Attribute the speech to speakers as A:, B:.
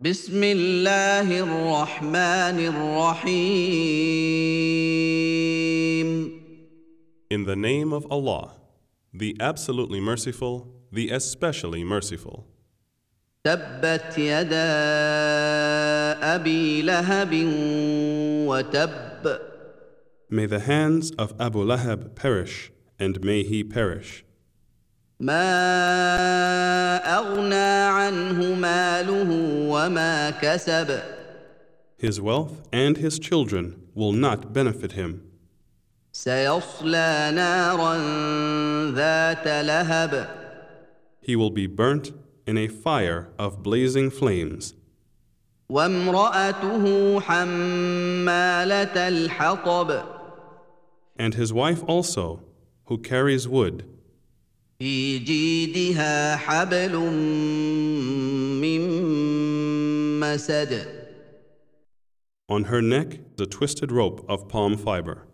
A: بسم الله الرحمن الرحيم
B: In the name of Allah, the absolutely merciful, the especially merciful.
A: تبت يدا ابي لهب وتب
B: May the hands of Abu Lahab perish, and may he perish.
A: ما اغنى عنه ماله وما كسب
B: His wealth and his children will not benefit him.
A: سيصلى نارا ذات لهب
B: He will be burnt in a fire of blazing flames.
A: وامراته حماله الحطب
B: And his wife also, who carries wood,
A: في جيدها حبل من مسد
B: on her neck the twisted rope of palm fiber.